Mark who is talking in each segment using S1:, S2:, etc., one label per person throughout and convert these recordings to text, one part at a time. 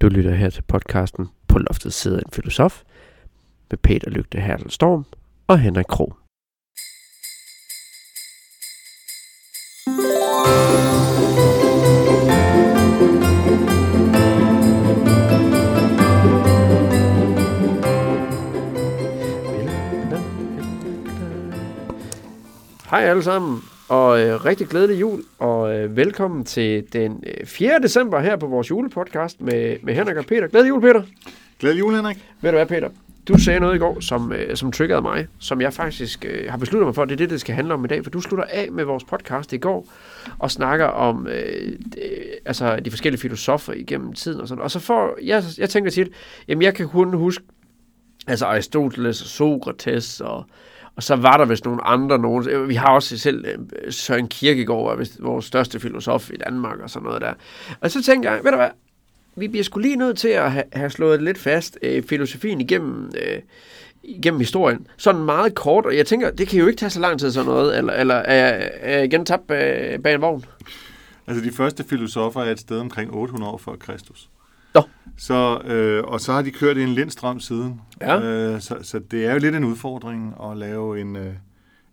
S1: Du lytter her til podcasten På loftet sidder en filosof med Peter Lygte Hertel Storm og Henrik Kro. Hej alle sammen, og øh, rigtig glædelig jul, og øh, velkommen til den øh, 4. december her på vores julepodcast med, med Henrik og Peter. Glædelig jul, Peter.
S2: Glædelig jul, Henrik.
S1: Ved du hvad, Peter? Du sagde noget i går, som, øh, som triggerede mig, som jeg faktisk øh, har besluttet mig for, at det er det, det skal handle om i dag, for du slutter af med vores podcast i går og snakker om øh, de, altså de forskellige filosofer igennem tiden og sådan. Og så får jeg, jeg tænker tit, jamen jeg kan kun huske altså Aristoteles og Sokrates og og så var der vist nogle andre, nogen, vi har også selv øh, Søren Kierkegaard, var vist vores største filosof i Danmark og sådan noget der. Og så tænkte jeg, ved du hvad, vi bliver skulle lige nødt til at ha- have slået lidt fast øh, filosofien igennem, øh, igennem historien. Sådan meget kort, og jeg tænker, det kan jo ikke tage så lang tid sådan noget, eller, eller er, jeg, er jeg igen tabt øh, bag en vogn?
S2: Altså, de første filosofer er et sted omkring 800 år før Kristus.
S1: Nå.
S2: Så, øh, og så har de kørt i en lindstrøm siden.
S1: Ja.
S2: Øh, så, så det er jo lidt en udfordring at lave en, øh,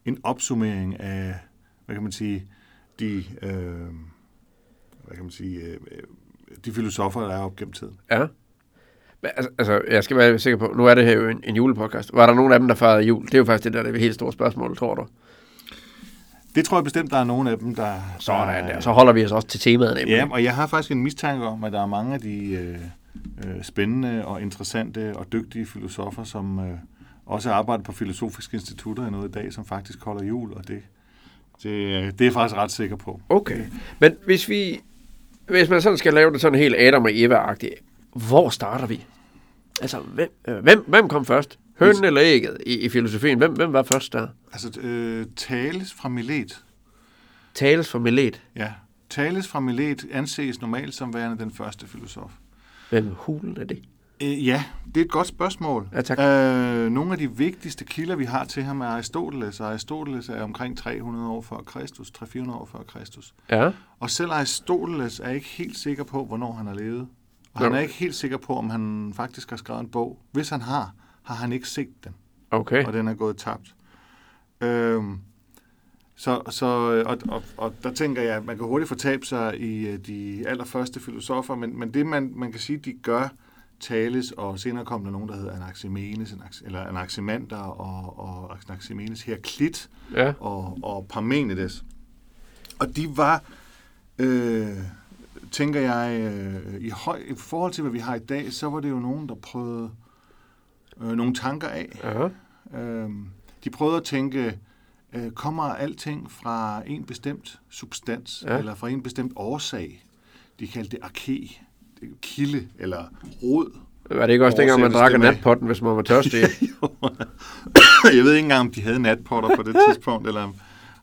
S2: en opsummering af, hvad kan man sige, de, øh, hvad kan man sige, øh, øh, de filosofer, der er op gennem tiden.
S1: Ja. Men, altså- Altså, jeg skal være sikker på, nu er det her jo en, en julepodcast. Var der nogen af dem, der fejrede jul? Det er jo faktisk det der, det er et helt stort spørgsmål, tror du.
S2: Det tror jeg bestemt, der er nogle af dem, der...
S1: Sådan der. Så holder vi os også til temaet nemlig.
S2: Ja, og jeg har faktisk en mistanke om, at der er mange af de øh, øh, spændende og interessante og dygtige filosofer, som øh, også arbejder på filosofiske institutter i noget i dag, som faktisk holder jul, og det, det, øh, det er jeg faktisk ret sikker på.
S1: Okay. Men hvis vi... Hvis man sådan skal lave det sådan helt Adam og Eva-agtigt, hvor starter vi? Altså, hvem, øh, hvem, hvem kom først? Hønen eller ægget i, i filosofien? Hvem, hvem var først der?
S2: Altså, øh, Tales fra Milet,
S1: Tales for Milet.
S2: ja, Tales fra Milet anses normalt som værende den første filosof.
S1: Hvem hulen er det?
S2: Øh, ja, det er et godt spørgsmål.
S1: Ja, tak.
S2: Øh, nogle af de vigtigste kilder, vi har til ham, er Aristoteles, og Aristoteles er omkring 300 år før Kristus, 300-400 år før Kristus.
S1: Ja.
S2: Og selv Aristoteles er ikke helt sikker på, hvornår han har levet. Og
S1: Nå.
S2: han er ikke helt sikker på, om han faktisk har skrevet en bog. Hvis han har, har han ikke set den,
S1: Okay.
S2: og den er gået tabt. Øhm, så, så, og, og, og der tænker jeg, at man kan hurtigt fortabe sig i øh, de allerførste filosofer, men, men det, man, man kan sige, de gør, tales, og senere kom der nogen, der hedder Anaximenes, Anax- eller Anaximander og, og Anaximenes Heraklit,
S1: Ja.
S2: og, og Parmenides. Og de var, øh, tænker jeg, øh, i, høj, i forhold til, hvad vi har i dag, så var det jo nogen, der prøvede øh, nogle tanker af.
S1: Ja.
S2: Øh, de prøvede at tænke, øh, kommer alting fra en bestemt substans,
S1: Ja.
S2: ja. eller fra en bestemt årsag? De kaldte det arke, kilde eller rod.
S1: Var det ikke også dengang, man
S2: Oversættes
S1: drak
S2: det
S1: af
S2: med-
S1: natpotten, hvis man var tørstig?
S2: jeg ved ikke engang, om de havde natpotter på det tidspunkt, eller om,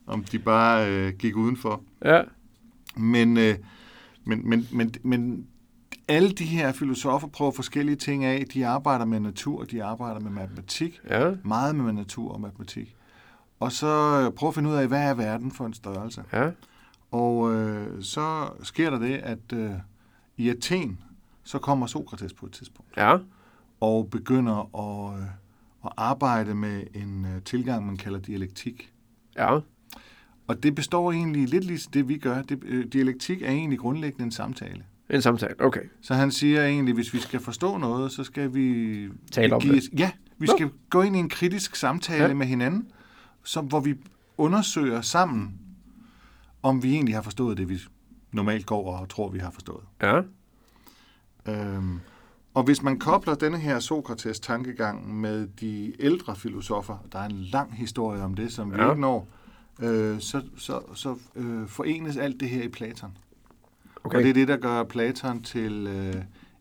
S2: om de bare øh, gik udenfor.
S1: ja.
S2: Men, øh, men, men, men, men alle de her filosofer prøver forskellige ting af. De arbejder med natur, de arbejder med matematik.
S1: Ja.
S2: Meget med natur og matematik. Og så øh, prøver at finde ud af, hvad er verden for en størrelse.
S1: Ja.
S2: Og øh, så sker der det, at øh, i Athen, så kommer Sokrates på et tidspunkt
S1: Ja.
S2: og begynder at, øh, at arbejde med en øh, tilgang, man kalder dialektik.
S1: Ja.
S2: Og det består egentlig lidt ligesom det, vi gør. Det, øh, dialektik er egentlig grundlæggende en samtale.
S1: En samtale. Okay.
S2: Så han siger egentlig, hvis vi skal forstå noget, så skal vi...
S1: Tale om
S2: give,
S1: det.
S2: Ja, vi
S1: Nå.
S2: skal gå ind i en kritisk samtale
S1: Ja.
S2: ja. med hinanden, som, hvor vi undersøger sammen, om vi egentlig har forstået det, vi normalt går og tror, vi har forstået.
S1: Ja.
S2: Øhm, og hvis man kobler denne her Sokrates tankegang med de ældre filosofer, der er en lang historie om det, som vi
S1: Ja.
S2: ja. ikke når, øh, så, så, så øh, forenes alt det her i Platon. Okay. Og det er
S1: Okay.
S2: det, der gør Platon til øh,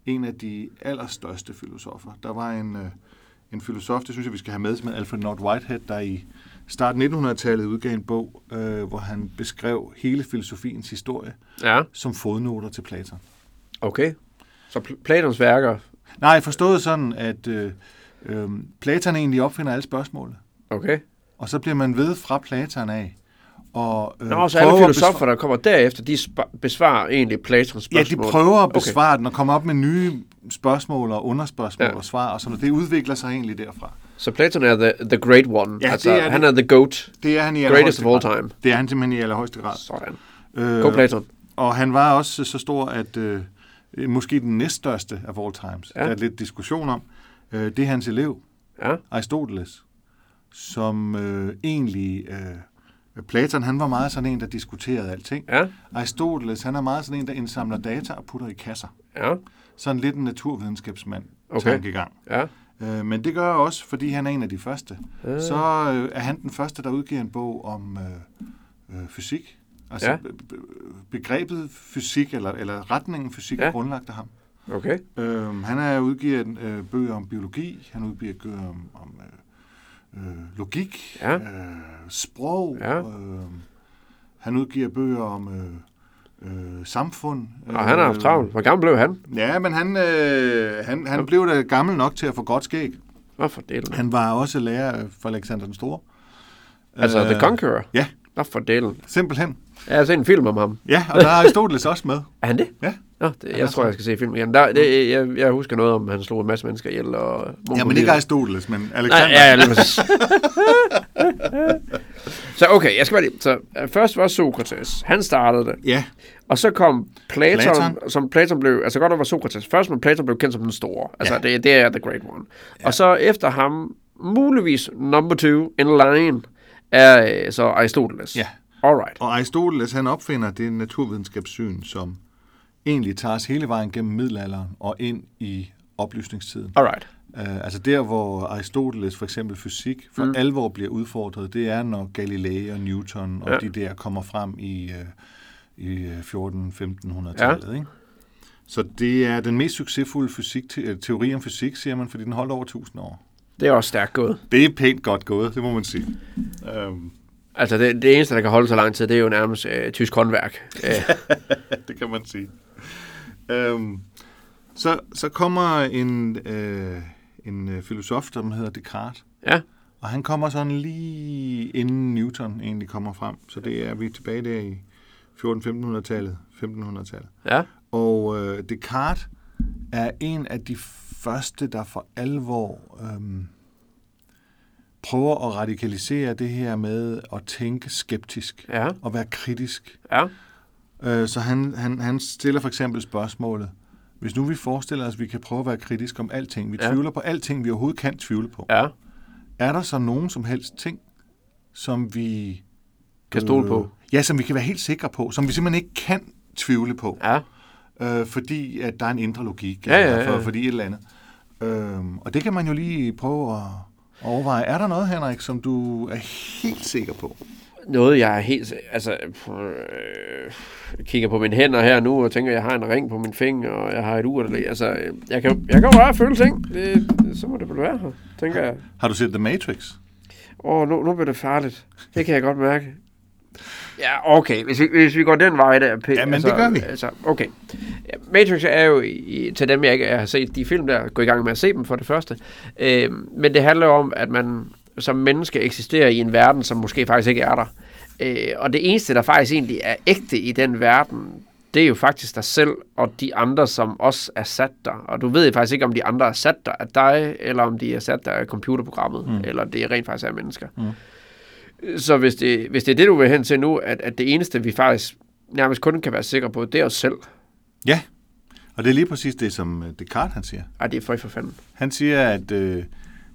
S2: en af de allerstørste filosofer. Der var en, øh, en filosof, det synes jeg, vi skal have med, som hed Alfred Lord Whitehead, der i starten af 1900-tallet udgav en bog, øh, hvor han beskrev hele filosofiens historie
S1: Ja.
S2: som fodnoter til Platon.
S1: Okay. Så Pl- Platons værker.
S2: Nej, forstået sådan, at øh, øh, Platon egentlig opfinder alle spørgsmålene.
S1: Okay.
S2: Og så bliver man ved fra Platon af Og, øh,
S1: Nå, så alle
S2: prøver at
S1: filosofer,
S2: besvare-
S1: der kommer derefter, de spa- besvarer egentlig Platons
S2: Ja, de
S1: spørgsmål.
S2: prøver at
S1: Okay.
S2: besvare den og komme op med nye spørgsmål og underspørgsmål
S1: Ja.
S2: ja. og svar, og sådan noget. Det udvikler sig egentlig derfra.
S1: Så Platon er the, the great one.
S2: Ja,
S1: altså,
S2: det er
S1: han
S2: det.
S1: er the goat.
S2: Det er han i
S1: Greatest
S2: allerhøjeste
S1: of all
S2: grad.
S1: time.
S2: Det er han simpelthen i allerhøjeste grad.
S1: Sådan.
S2: Øh,
S1: Go Platon.
S2: Og han var også så stor, at øh, måske den næststørste af all times.
S1: Ja.
S2: Ja. Der er lidt diskussion om. Øh, det er hans elev,
S1: Ja.
S2: Aristoteles, som øh, egentlig... Øh, Platon, han var meget sådan en, der diskuterede alting.
S1: Ja.
S2: Aristoteles, han er meget sådan en, der indsamler data og putter i kasser.
S1: Ja.
S2: Sådan lidt en naturvidenskabsmand
S1: Okay.
S2: okay. tankegang.
S1: Ja.
S2: Øh, men det gør jeg også, fordi han er en af de første.
S1: Øh.
S2: Øh. Så øh, er han den første, der udgiver en bog om øh, øh, fysik. Altså
S1: Ja.
S2: ja. begrebet fysik, eller, eller retningen fysik,
S1: Ja.
S2: ja. er grundlagt af ham.
S1: Okay.
S2: Øh, han er udgiver øh, bøger om biologi, han udgiver bøger om, om øh, øh, logik,
S1: Ja.
S2: øh, sprog.
S1: Ja.
S2: Øh, han udgiver bøger om øh, øh, samfund.
S1: Og han har haft travlt. Hvor gammel blev han?
S2: Ja, men han, øh, han, han blev da gammel nok til at få godt skæg.
S1: Hvorfor delen?
S2: Han var også lærer øh, for Alexander den Store.
S1: Altså,
S2: Øh,
S1: The Conqueror?
S2: Ja,
S1: Hvorfor delen?
S2: simpelthen.
S1: Jeg har set en film om ham.
S2: Ja, og der er Aristoteles også med.
S1: Er han det?
S2: Ja.
S1: Nå, det,
S2: er
S1: jeg tror, jeg skal se filmen igen. Der, det, jeg, jeg husker noget om, at han slog en masse mennesker ihjel. Og
S2: Ja, men ikke Aristoteles, men
S1: Nej,
S2: Alexander.
S1: ja, lige præcis. så okay, jeg skal bare lige. Så, øh, først var Sokrates. Han startede det.
S2: ja.
S1: Og så kom Platon, Platon.
S2: Platon.
S1: som Platon blev, altså godt nok var Sokrates først, men Platon blev kendt som den store. Altså, ja.
S2: Ja.
S1: det, det er the great one. Ja. Og så efter ham, muligvis number two in line, er øh, så Aristoteles.
S2: Ja.
S1: Alright.
S2: Og Aristoteles, han opfinder det naturvidenskabssyn, som egentlig tager os hele vejen gennem middelalderen og ind i oplysningstiden.
S1: Alright.
S2: Uh, altså der, hvor Aristoteles for eksempel fysik for mm. alvor bliver udfordret, det er, når Galilei og Newton og
S1: Ja.
S2: ja. de der kommer frem i, uh, i 14-1500-tallet. Ja. Ikke? Så det er den mest succesfulde fysik, te- øh, teori om fysik, siger man, fordi den holder over 1000 år.
S1: Det er også stærkt gået.
S2: Det er pænt godt gået, det må man sige. Um,
S1: Altså, det, det eneste, der kan holde så lang tid, det er jo nærmest øh, tysk håndværk. Øh,
S2: det kan man sige. Øhm, så, så kommer en, øh, en øh, filosof, som hedder Descartes,
S1: ja,
S2: og han kommer sådan lige inden Newton egentlig kommer frem. Så det er vi er tilbage der i 14-1500-tallet. 1500-tallet.
S1: ja,
S2: Og øh, Descartes er en af de første, der for alvor øhm, prøver at radikalisere det her med at tænke skeptisk
S1: ja,
S2: og være kritisk.
S1: ja,
S2: Øh, Så han, han, han stiller for eksempel spørgsmålet, hvis nu vi forestiller os, at vi kan prøve at være kritiske om alting, vi
S1: Ja.
S2: ja. tvivler på alting, vi overhovedet kan tvivle på, ja.
S1: ja.
S2: er der så nogen som helst ting, som vi... Øh,
S1: Kan stole på.
S2: Ja, som vi kan være helt sikre på, som vi simpelthen ikke kan tvivle på,
S1: Ja,
S2: øh, fordi at der er en indre logik,
S1: Ja, ja,
S2: eller
S1: ja, ja.
S2: For, fordi et eller andet. Øhm, og det kan man jo lige prøve at overveje. Er der noget, Henrik, som du er helt sikker på?
S1: noget, jeg er helt... Altså, øh, jeg kigger på mine hænder her nu, og tænker, jeg har en ring på min finger, og jeg har et ur. Eller, altså, øh, jeg kan, jeg kan jo bare føle ting. Det, så må det vel være her, tænker jeg.
S2: Har du set The Matrix?
S1: Åh, nu, nu bliver det farligt. Det kan jeg godt mærke. Ja, okay. Hvis vi, hvis vi går den vej der... P-
S2: Jamen, det gør vi.
S1: Altså, okay. Ja, Matrix er jo, i, til dem jeg ikke har set de film der, gå i gang med at se dem for det første. Øh, men det handler jo om, at man som menneske eksisterer i en verden, som måske faktisk ikke er der. Øh, og det eneste, der faktisk egentlig er ægte i den verden, det er jo faktisk dig selv og de andre, som også er sat der. Og du ved jo faktisk ikke, om de andre er sat der af dig, eller om de er sat der af computerprogrammet, mm. eller det rent faktisk er mennesker. Mm. Så hvis det, hvis det er det, du vil hen til nu, at, at det eneste, vi faktisk nærmest kun kan være sikre på, det er os selv.
S2: Ja, og det er lige præcis det, som øh, Descartes han siger.
S1: Ej, det er for for fanden.
S2: Han siger, at øh,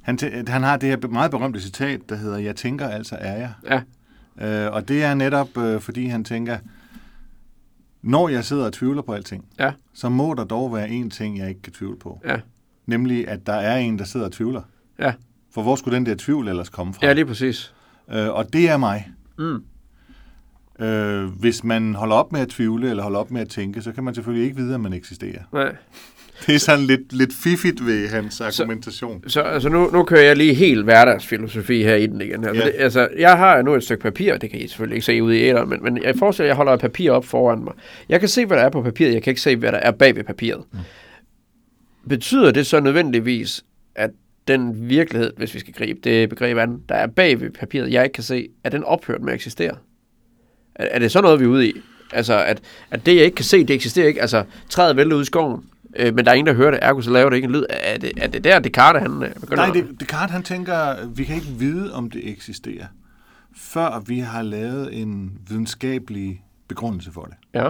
S2: han, tæ- at han har det her be- meget berømte citat, der hedder, jeg tænker, altså er jeg.
S1: Ja,
S2: Øh, og det er netop, øh, fordi han tænker, når jeg sidder og tvivler på alting,
S1: ja,
S2: så må der dog være en ting, jeg ikke kan tvivle på.
S1: ja,
S2: Nemlig, at der er en, der sidder og tvivler.
S1: ja.
S2: For hvor skulle den der tvivl ellers komme fra?
S1: Ja, lige præcis.
S2: Øh, og det er mig.
S1: Mm.
S2: Øh, hvis man holder op med at tvivle, eller holder op med at tænke, så kan man selvfølgelig ikke vide, at man eksisterer.
S1: Nej.
S2: Det er sådan lidt, lidt fiffigt ved hans argumentation.
S1: Så altså, nu, nu kører jeg lige helt hverdagsfilosofi her i den igen. Altså,
S2: Ja.
S1: det, altså, jeg har nu et stykke papir, det kan I selvfølgelig ikke se ude i æderen, men, men jeg forestiller, at jeg holder et papir op foran mig. Jeg kan se, hvad der er på papiret, jeg kan ikke se, hvad der er bag ved papiret. Betyder det så nødvendigvis, at den virkelighed, hvis vi skal gribe det begreb an, der er bag ved papiret, jeg ikke kan se, er den ophørt med at eksistere? Er, er det sådan noget, vi er ude i? Altså, at, at det, jeg ikke kan se, det eksisterer ikke. Altså, træet vælter ud i skoven, øh, men der er ingen, der hører det. Ergo, så laver det ikke en lyd. Er det, er det der, Descartes, han øh, begynder
S2: Nej,
S1: at-
S2: det, Descartes han tænker, vi kan ikke vide, om det eksisterer, før vi har lavet en videnskabelig begrundelse for det.
S1: Ja,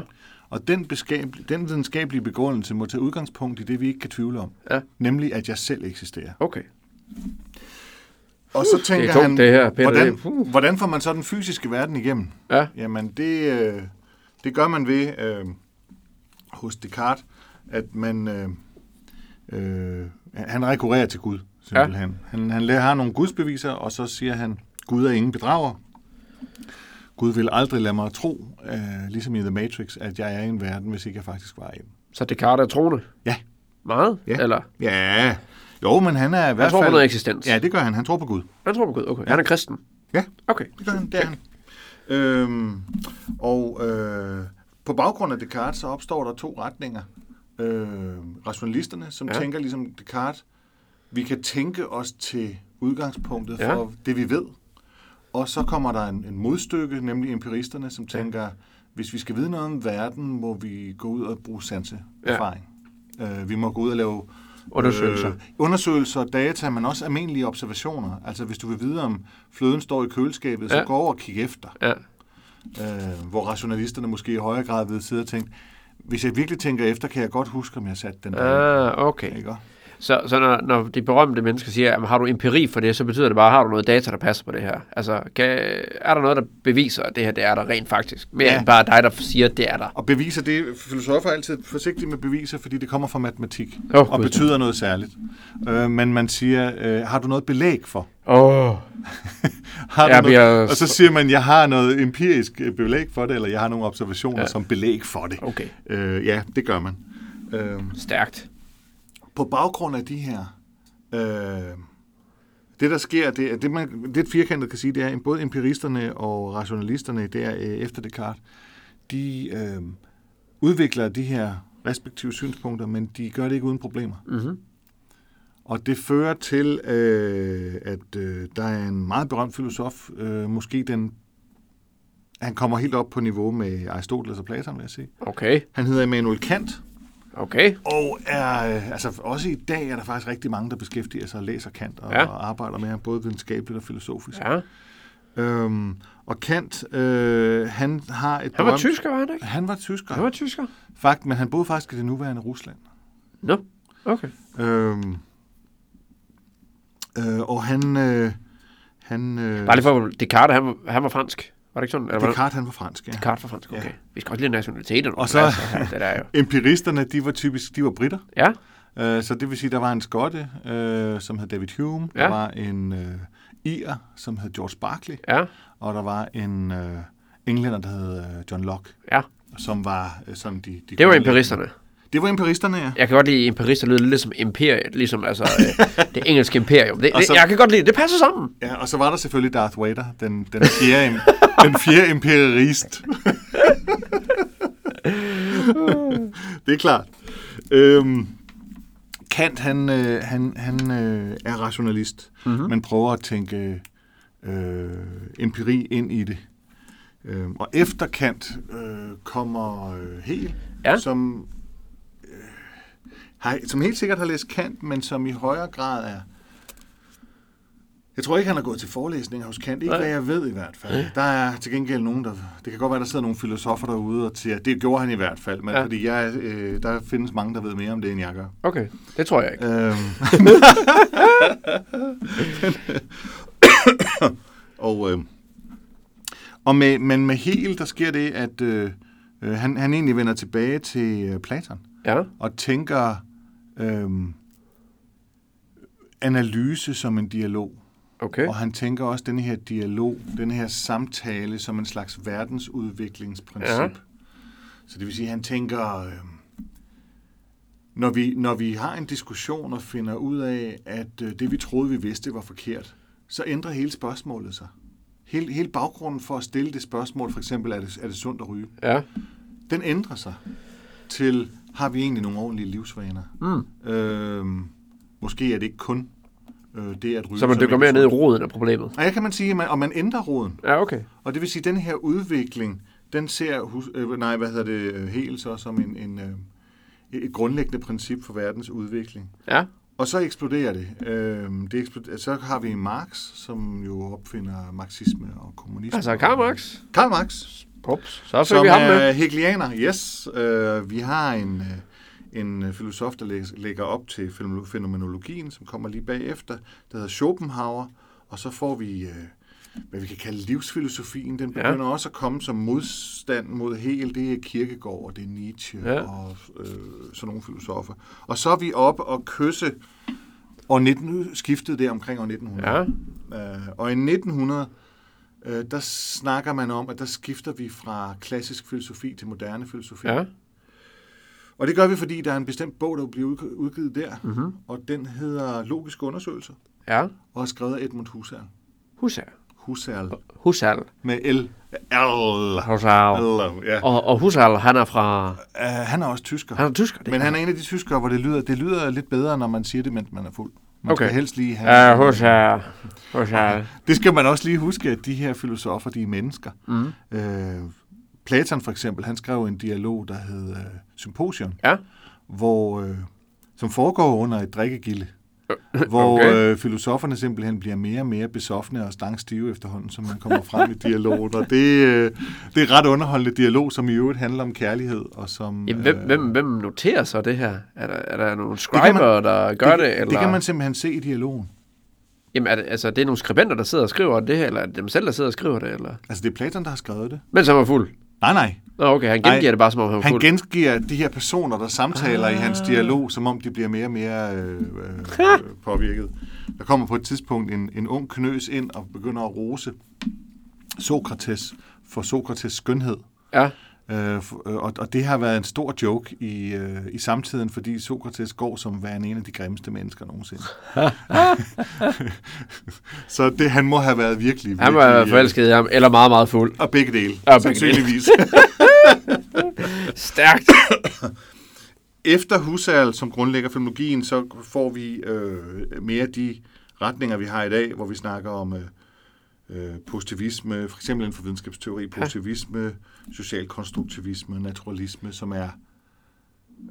S2: Og den, beskab- den videnskabelige begrundelse må tage udgangspunkt i det, vi ikke kan tvivle om.
S1: Ja.
S2: Nemlig, at jeg selv eksisterer.
S1: okay.
S2: Og så tænker
S1: tungt,
S2: han,
S1: det her, Peter.
S2: hvordan,
S1: Det- uh.
S2: hvordan får man så den fysiske verden igennem?
S1: Ja,
S2: Jamen, det, øh, det gør man ved øh, hos Descartes, at man øh, øh, han rekurrerer til Gud, simpelthen. Ja. Han, han la- har nogle gudsbeviser, og så siger han, Gud er ingen bedrager. Gud vil aldrig lade mig tro, øh, ligesom i The Matrix, at jeg er i en verden, hvis ikke jeg faktisk var i den.
S1: så Descartes er troende.
S2: Ja.
S1: Meget?
S2: Ja.
S1: Eller?
S2: Ja, jo, men han er i hvert
S1: Han
S2: fald...
S1: tror på noget eksistens.
S2: Ja, det gør han. Han tror på Gud.
S1: Han tror på Gud, okay. Han er kristen.
S2: Ja.
S1: Okay.
S2: Det gør han, det er han. Øhm, og øh, på baggrund af Descartes, så opstår der to retninger. Øh, rationalisterne, som
S1: Ja.
S2: ja. tænker ligesom Descartes, vi kan tænke os til udgangspunktet
S1: Ja.
S2: ja. for det, vi ved. Og så kommer der en, en modstykke, nemlig empiristerne, som tænker, ja. hvis vi skal vide noget om verden, må vi gå ud og bruge sanseerfaring. Ja. Øh, vi må gå ud og lave
S1: Undersøgelser.
S2: Øh, undersøgelser, data, men også almindelige observationer. Altså hvis du vil vide, om fløden står i køleskabet, så
S1: Ja.
S2: ja. gå over og kig efter.
S1: Ja.
S2: Øh, hvor rationalisterne måske i højere grad vil sidde og tænke, hvis jeg virkelig tænker efter, kan jeg godt huske, om jeg satte den der.
S1: Ah, okay.
S2: Ikke? også?
S1: Så, så når, når de berømte mennesker siger, at har du empiri for det, så betyder det bare, har du noget data, der passer på det her? Altså, kan, er der noget, der beviser, at det her det er der rent faktisk? Mere ja.
S2: Ja.
S1: end bare dig, der siger, at det er der.
S2: Og beviser, det filosofer er altid forsigtige med beviser, fordi det kommer fra matematik
S1: Åh,
S2: og
S1: Gud.
S2: betyder noget særligt. Øh, men man siger, øh, har du noget belæg for?
S1: Åh, oh, Jeg
S2: Har du noget?
S1: bliver-
S2: Og så siger man, jeg har noget empirisk øh, belæg for det, eller jeg har nogle observationer ja. som belæg for det.
S1: okay.
S2: Øh, ja, det gør man. Øh,
S1: Stærkt.
S2: på baggrund af de her, øh, det der sker, det, er- det man lidt firkantet kan sige, det er, at både empiristerne og rationalisterne der øh, efter Descartes, de øh, udvikler de her respektive synspunkter, men de gør det ikke uden problemer.
S1: Mm-hmm.
S2: Og det fører til, øh, at øh, der er en meget berømt filosof, øh, måske den, han kommer helt op på niveau med Aristoteles og Platon, vil jeg sige.
S1: Okay,
S2: Han hedder Immanuel Kant,
S1: okay.
S2: og er, øh, altså også i dag er der faktisk rigtig mange, der beskæftiger sig og læser Kant og,
S1: Ja.
S2: ja. og arbejder med ham, både videnskabeligt og filosofisk.
S1: Ja.
S2: Ja. Øhm, og Kant, øh, han har et
S1: Han var
S2: berømt-
S1: tysker, var han ikke?
S2: Han var tysker,
S1: Han var tysker.
S2: Fakt, men han boede faktisk i det nuværende Rusland.
S1: Nå, okay.
S2: Øhm, øh, og han... Øh, han øh,
S1: Bare lige for, Descartes, han, var- han var fransk. Var det ikke sådan? Eller var det-
S2: Descartes, han var fransk, ja.
S1: Descartes var fransk, okay. Vi skal også lige have nationaliteten.
S2: Og så-
S1: Altså, det der er jo.
S2: Empiristerne, de var typisk, de var britter.
S1: Ja,
S2: Øh, så det vil sige, der var en skotte, øh, som hed David Hume.
S1: Ja.
S2: Der var en øh, ir, som hed George Berkeley.
S1: ja,
S2: og der var en øh, englænder, der hed øh, John Locke,
S1: ja.
S2: som var øh, sådan de... de
S1: Det var empiristerne.
S2: Det var imperisterne, ja.
S1: Jeg kan godt lide imperister lyder lidt som imperiet, ligesom altså, øh, det engelske imperium. Det,
S2: Og
S1: det,
S2: så-
S1: jeg kan godt lide det. Det passer sammen.
S2: ja. Og så var der selvfølgelig Darth Vader, den, den fjerde, im- den fjerde imperierist. det er klart. Øhm, Kant, han, øh, han, han øh, er rationalist, mm-hmm. men prøver at tænke øh, empiri ind i det. Øhm, og efter Kant øh, kommer øh, Hegel,
S1: Ja.
S2: ja. som, øh, har, som helt sikkert har læst Kant, men som i højere grad er... Jeg tror ikke, han har gået til forelæsninger hos Kant. Ikke
S1: Nej.
S2: hvad jeg ved i hvert fald. Der er til gengæld nogen, der... Det kan godt være, der sidder nogle filosofer derude og siger, det gjorde han i hvert fald, men
S1: Ja.
S2: ja. fordi jeg, øh, der findes mange, der ved mere om det, end jeg gør.
S1: Okay, det tror jeg ikke.
S2: Øhm. og, øh, og med, men med Hegel, der sker det, at øh, øh, han, han egentlig vender tilbage til øh, Platon
S1: Ja,
S2: og tænker øh, analyse som en dialog.
S1: okay.
S2: Og han tænker også den her dialog, den her samtale som en slags verdensudviklingsprincip.
S1: Ja.
S2: Ja. Så det vil sige, at han tænker, øh, når, vi, når vi har en diskussion og finder ud af, at øh, det vi troede, vi vidste, var forkert, så ændrer hele spørgsmålet sig. Hele, hele baggrunden for at stille det spørgsmål, for eksempel, er det, er det sundt at ryge,
S1: Ja,
S2: den ændrer sig til, har vi egentlig nogle ordentlige livsvaner? Mm. Øh, måske er det ikke kun øh, det at ryge.
S1: så man
S2: som
S1: dykker
S2: ikke
S1: mere
S2: er
S1: ned i roden af problemet.
S2: og her kan man sige, at man, og man ændrer roden.
S1: Ja, okay.
S2: Og det vil sige, at den her udvikling den ser, hus, øh, nej, hvad hedder det, helt så som en, en, øh, et grundlæggende princip for verdens udvikling.
S1: Ja.
S2: Og så eksploderer det. Øh, det eksploderer, så har vi Marx, som jo opfinder marxisme og kommunisme.
S1: Altså Karl Marx.
S2: Karl Marx.
S1: Pops. Så fik
S2: Som øh,
S1: vi ham
S2: er
S1: med.
S2: hegelianer, yes. Øh, vi har en, øh, en filosof, der læ- lægger op til fænomen- fænomenologien, som kommer lige bagefter, der hedder Schopenhauer, og så får vi, øh, hvad vi kan kalde livsfilosofien, den
S1: Ja.
S2: begynder ja. også at komme som modstand mod Hegel, det er Kierkegaard, og det er Nietzsche,
S1: Ja.
S2: ja. og øh, sådan nogle filosofer. Og så er vi op og kysse og 19, skiftet der omkring år 1900.
S1: Ja.
S2: Øh, og i 1900, øh, der snakker man om, at der skifter vi fra klassisk filosofi til moderne filosofi.
S1: Ja.
S2: Og det gør vi, fordi der er en bestemt bog, der bliver udgivet der,
S1: Mhm.
S2: mm-hmm. og den hedder Logiske Undersøgelser,
S1: Ja.
S2: og er skrevet af Edmund Husserl.
S1: Husserl.
S2: Husserl
S1: Husserl.
S2: med L. L.
S1: Husserl.
S2: L. Ja.
S1: Og, og Husserl, han er fra...
S2: Uh, han er også tysker.
S1: Han er tysker. Det.
S2: Men han er en af de tyskere, hvor det lyder, det lyder lidt bedre, når man siger det, mens man er fuld. Man
S1: Okay.
S2: skal helst lige have...
S1: Ja, Husserl. Husserl.
S2: Det skal man også lige huske, at de her filosofer, de er mennesker. Mm. Øh, Platon for eksempel, han skrev en dialog, der hed øh, Symposion,
S1: Ja.
S2: hvor, øh, som foregår under et drikkegilde, hvor
S1: okay.
S2: øh, filosoferne simpelthen bliver mere og mere besoffende og stangstive efterhånden, som man kommer frem i dialogen. Og det, øh, det er ret underholdende dialog, som i øvrigt handler om kærlighed. Og som,
S1: Jamen, hvem,
S2: øh,
S1: hvem, hvem noterer så det her? Er der, er der nogle
S2: kan man-
S1: scriber, man, der gør det?
S2: det,
S1: eller?
S2: det kan man simpelthen se i dialogen.
S1: Jamen, er det, altså, det er nogle skribenter, der sidder og skriver det her, eller er det dem selv, der sidder og skriver det? Eller?
S2: Altså, det er Platon, der har skrevet det.
S1: Men han var fuld.
S2: Nej, nej.
S1: Nå, okay, han gengiver
S2: Nej,
S1: det bare, som om han var
S2: Han
S1: fuld.
S2: gengiver de her personer, der samtaler ah. i hans dialog, som om de bliver mere og mere øh, øh, påvirket. Der kommer på et tidspunkt en, en ung knøs ind og begynder at rose Sokrates for Sokrates skønhed.
S1: Ja,
S2: Øh, f- øh, og, og det har været en stor joke i, øh, i samtiden, fordi Sokrates går som værende en af de grimmeste mennesker nogensinde. Så det, han må have været virkelig, virkelig
S1: han var
S2: øh,
S1: forelsket i ham, eller meget, meget fuld.
S2: Og begge dele,
S1: Ja,
S2: ja,
S1: begge dele.
S2: sandsynligvis.
S1: Stærkt!
S2: Efter Husserl, som grundlægger filmologien, så får vi øh, mere de retninger, vi har i dag, hvor vi snakker om øh, øh, positivisme, for eksempel inden for videnskabsteori, positivisme, social konstruktivisme, naturalisme, som er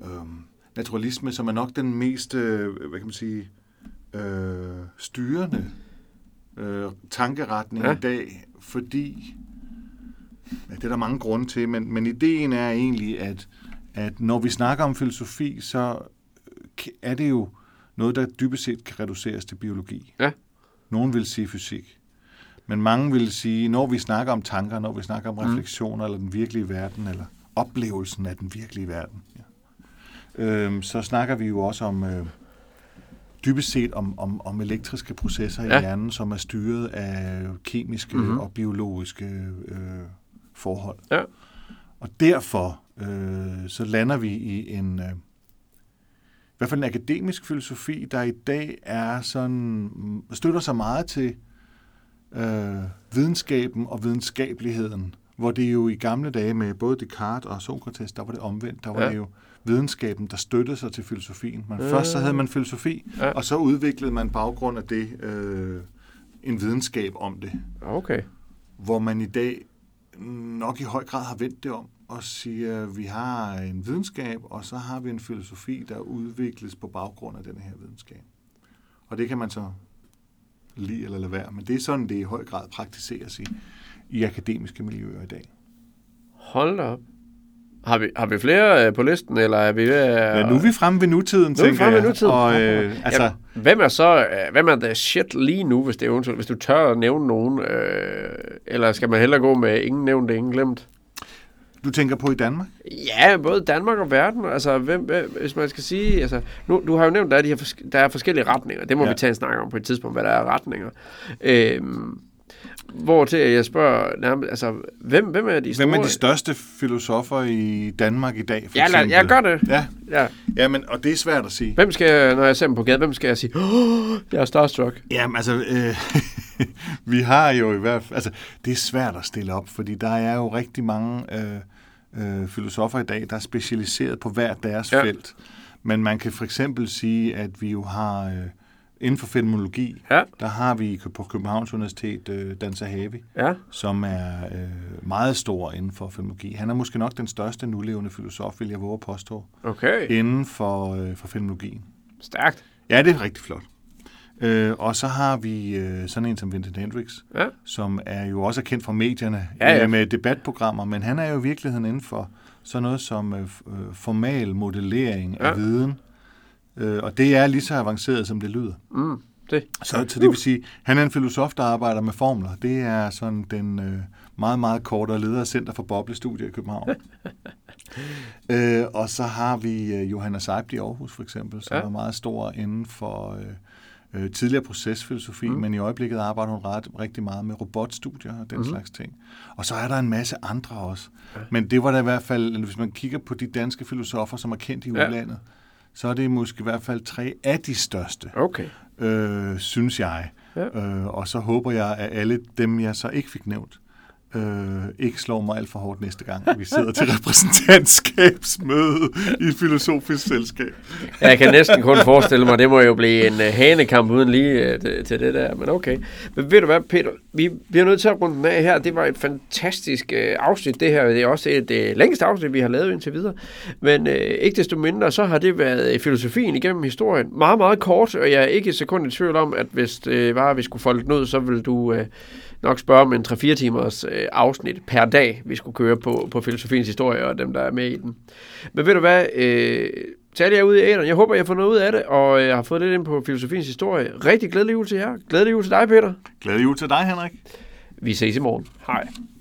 S2: øh, naturalisme, som er nok den mest, øh, hvad kan man sige, øh, styrende øh, tankeretning
S1: Ja.
S2: ja. i dag, fordi ja, det er der mange grunde til, men, men ideen er egentlig, at, at når vi snakker om filosofi, så øh, er det jo noget, der dybest set kan reduceres til biologi.
S1: Ja.
S2: Nogen vil sige fysik. Men mange vil sige, når vi snakker om tanker, når vi snakker
S1: Mm.
S2: om refleksioner, eller den virkelige verden, eller oplevelsen af den virkelige verden, ja. øhm, så snakker vi jo også om øh, dybest set om, om, om elektriske processer
S1: Ja.
S2: i hjernen, som er styret af kemiske
S1: Mhm.
S2: mm-hmm. og biologiske øh, forhold.
S1: Ja.
S2: Og derfor øh, så lander vi i en, øh, i hvert fald en akademisk filosofi, der i dag er sådan, mm, støtter sig meget til øh, videnskaben og videnskabeligheden, hvor det jo i gamle dage med både Descartes og Sokrates, der var det omvendt, der var
S1: Ja.
S2: ja. det jo videnskaben, der støttede sig til filosofien. Man,
S1: Øh.
S2: Først så havde man filosofi,
S1: Ja.
S2: ja. og så udviklede man på baggrund af det øh, en videnskab om det
S1: Okay.
S2: hvor man i dag nok i høj grad har vendt det om og siger, at vi har en videnskab, og så har vi en filosofi, der udvikles på baggrund af den her videnskab. Og det kan man så lide eller lade være, men det er sådan, det i høj grad praktiseres i, i akademiske miljøer i dag.
S1: Hold da op. Har vi, har vi flere øh, på listen, eller er vi ved... at-
S2: Ja, nu er vi fremme ved nutiden,
S1: Nu er vi
S2: tænker
S1: fremme ved
S2: jeg.
S1: nutiden.
S2: Og, øh, altså,
S1: Jamen, hvem er så øh, hvem er the shit lige nu, hvis det er eventuelt, hvis du tør at nævne nogen, øh, eller skal man hellere gå med ingen nævnt, ingen glemt?
S2: du tænker på i Danmark?
S1: Ja, både Danmark og verden. Altså, hvem, hvem, hvis man skal sige... Altså, nu, du har jo nævnt, der er, de her, forske- der er forskellige retninger. Det må ja.
S2: Ja.
S1: vi tage en snak om på et tidspunkt, hvad der er af retninger. Øhm, hvor til jeg spørger nærmest, altså, hvem, hvem er de store?
S2: Hvem er de største filosofer i Danmark i dag, for
S1: Ja, lad-
S2: eksempel?
S1: jeg gør det.
S2: Ja,
S1: Ja.
S2: ja men, og det er svært at sige.
S1: Hvem skal, når jeg ser dem på gaden, hvem skal jeg sige, oh, jeg er starstruck?
S2: Jamen altså, øh, vi har jo i hvert fald, altså det er svært at stille op, fordi der er jo rigtig mange øh, øh, filosofer i dag, der er specialiseret på hver deres
S1: Ja.
S2: ja. felt. Men man kan for eksempel sige, at vi jo har øh, inden for fenomenologi,
S1: Ja.
S2: der har vi på Københavns Universitet øh, Dan Sahabi,
S1: Ja.
S2: som er øh, meget stor inden for fenomenologi. Han er måske nok den største nulevende filosof, vil jeg våge at påstå,
S1: Okay.
S2: inden for, øh, for fenomenologien.
S1: Stærkt.
S2: Ja, det er rigtig flot. Øh, og så har vi øh, sådan en som Vincent Hendricks,
S1: Ja.
S2: som er jo også er kendt fra medierne
S1: Ja, ja.
S2: øh, med debatprogrammer, men han er jo i virkeligheden inden for sådan noget som øh, f- øh, formal modellering af
S1: Ja.
S2: viden. Øh, og det er lige så avanceret, som det lyder.
S1: Mm. Det.
S2: Så, så det vil sige, han er en filosof, der arbejder med formler. Det er sådan den øh, meget, meget kortere leder af Center for Boblestudier i København. øh, og så har vi øh, Johanna Seib i Aarhus for eksempel, som
S1: Ja.
S2: ja. er meget stor inden for øh, øh, tidligere procesfilosofi,
S1: Mm.
S2: mm. men i øjeblikket arbejder hun ret, rigtig meget med robotstudier og den
S1: Mhm.
S2: mm. slags ting. Og så er der en masse andre også.
S1: Ja.
S2: Ja. Men det var da i hvert fald, hvis man kigger på de danske filosofer, som er kendt i
S1: Ja.
S2: udlandet, så er det måske i hvert fald tre af de største
S1: Okay.
S2: øh, synes jeg.
S1: Ja.
S2: Ja. Øh, og så håber jeg, at alle dem, jeg så ikke fik nævnt, øh, ikke slår mig alt for hårdt næste gang, vi sidder til repræsentantskabsmøde i et filosofisk selskab.
S1: Jeg kan næsten kun forestille mig, det må jo blive en øh, hanekamp uden lige øh, til- til det der, men okay. Men ved du hvad, Peter, vi bliver nødt til at runde den af her. Det var et fantastisk øh, afsnit, det her. Det er også et øh, længste afsnit, vi har lavet indtil videre. Men øh, ikke desto mindre, så har det været øh, filosofien igennem historien. Meget, meget kort, og jeg er ikke et sekund i tvivl om, at hvis det var, at vi skulle folde den ud, så ville du øh, nok spørge om en 3-4 timers øh, afsnit per dag, vi skulle køre på, på filosofiens historie og dem, der er med i den. Men ved du hvad, øh, tag det jer ud i æderen. Jeg håber, jeg har fået noget ud af det, og jeg har fået lidt ind på filosofiens historie. Rigtig glædelig jul til jer. Glædelig jul til dig, Peter.
S2: Glædelig jul til dig, Henrik.
S1: Vi ses i morgen. Hej.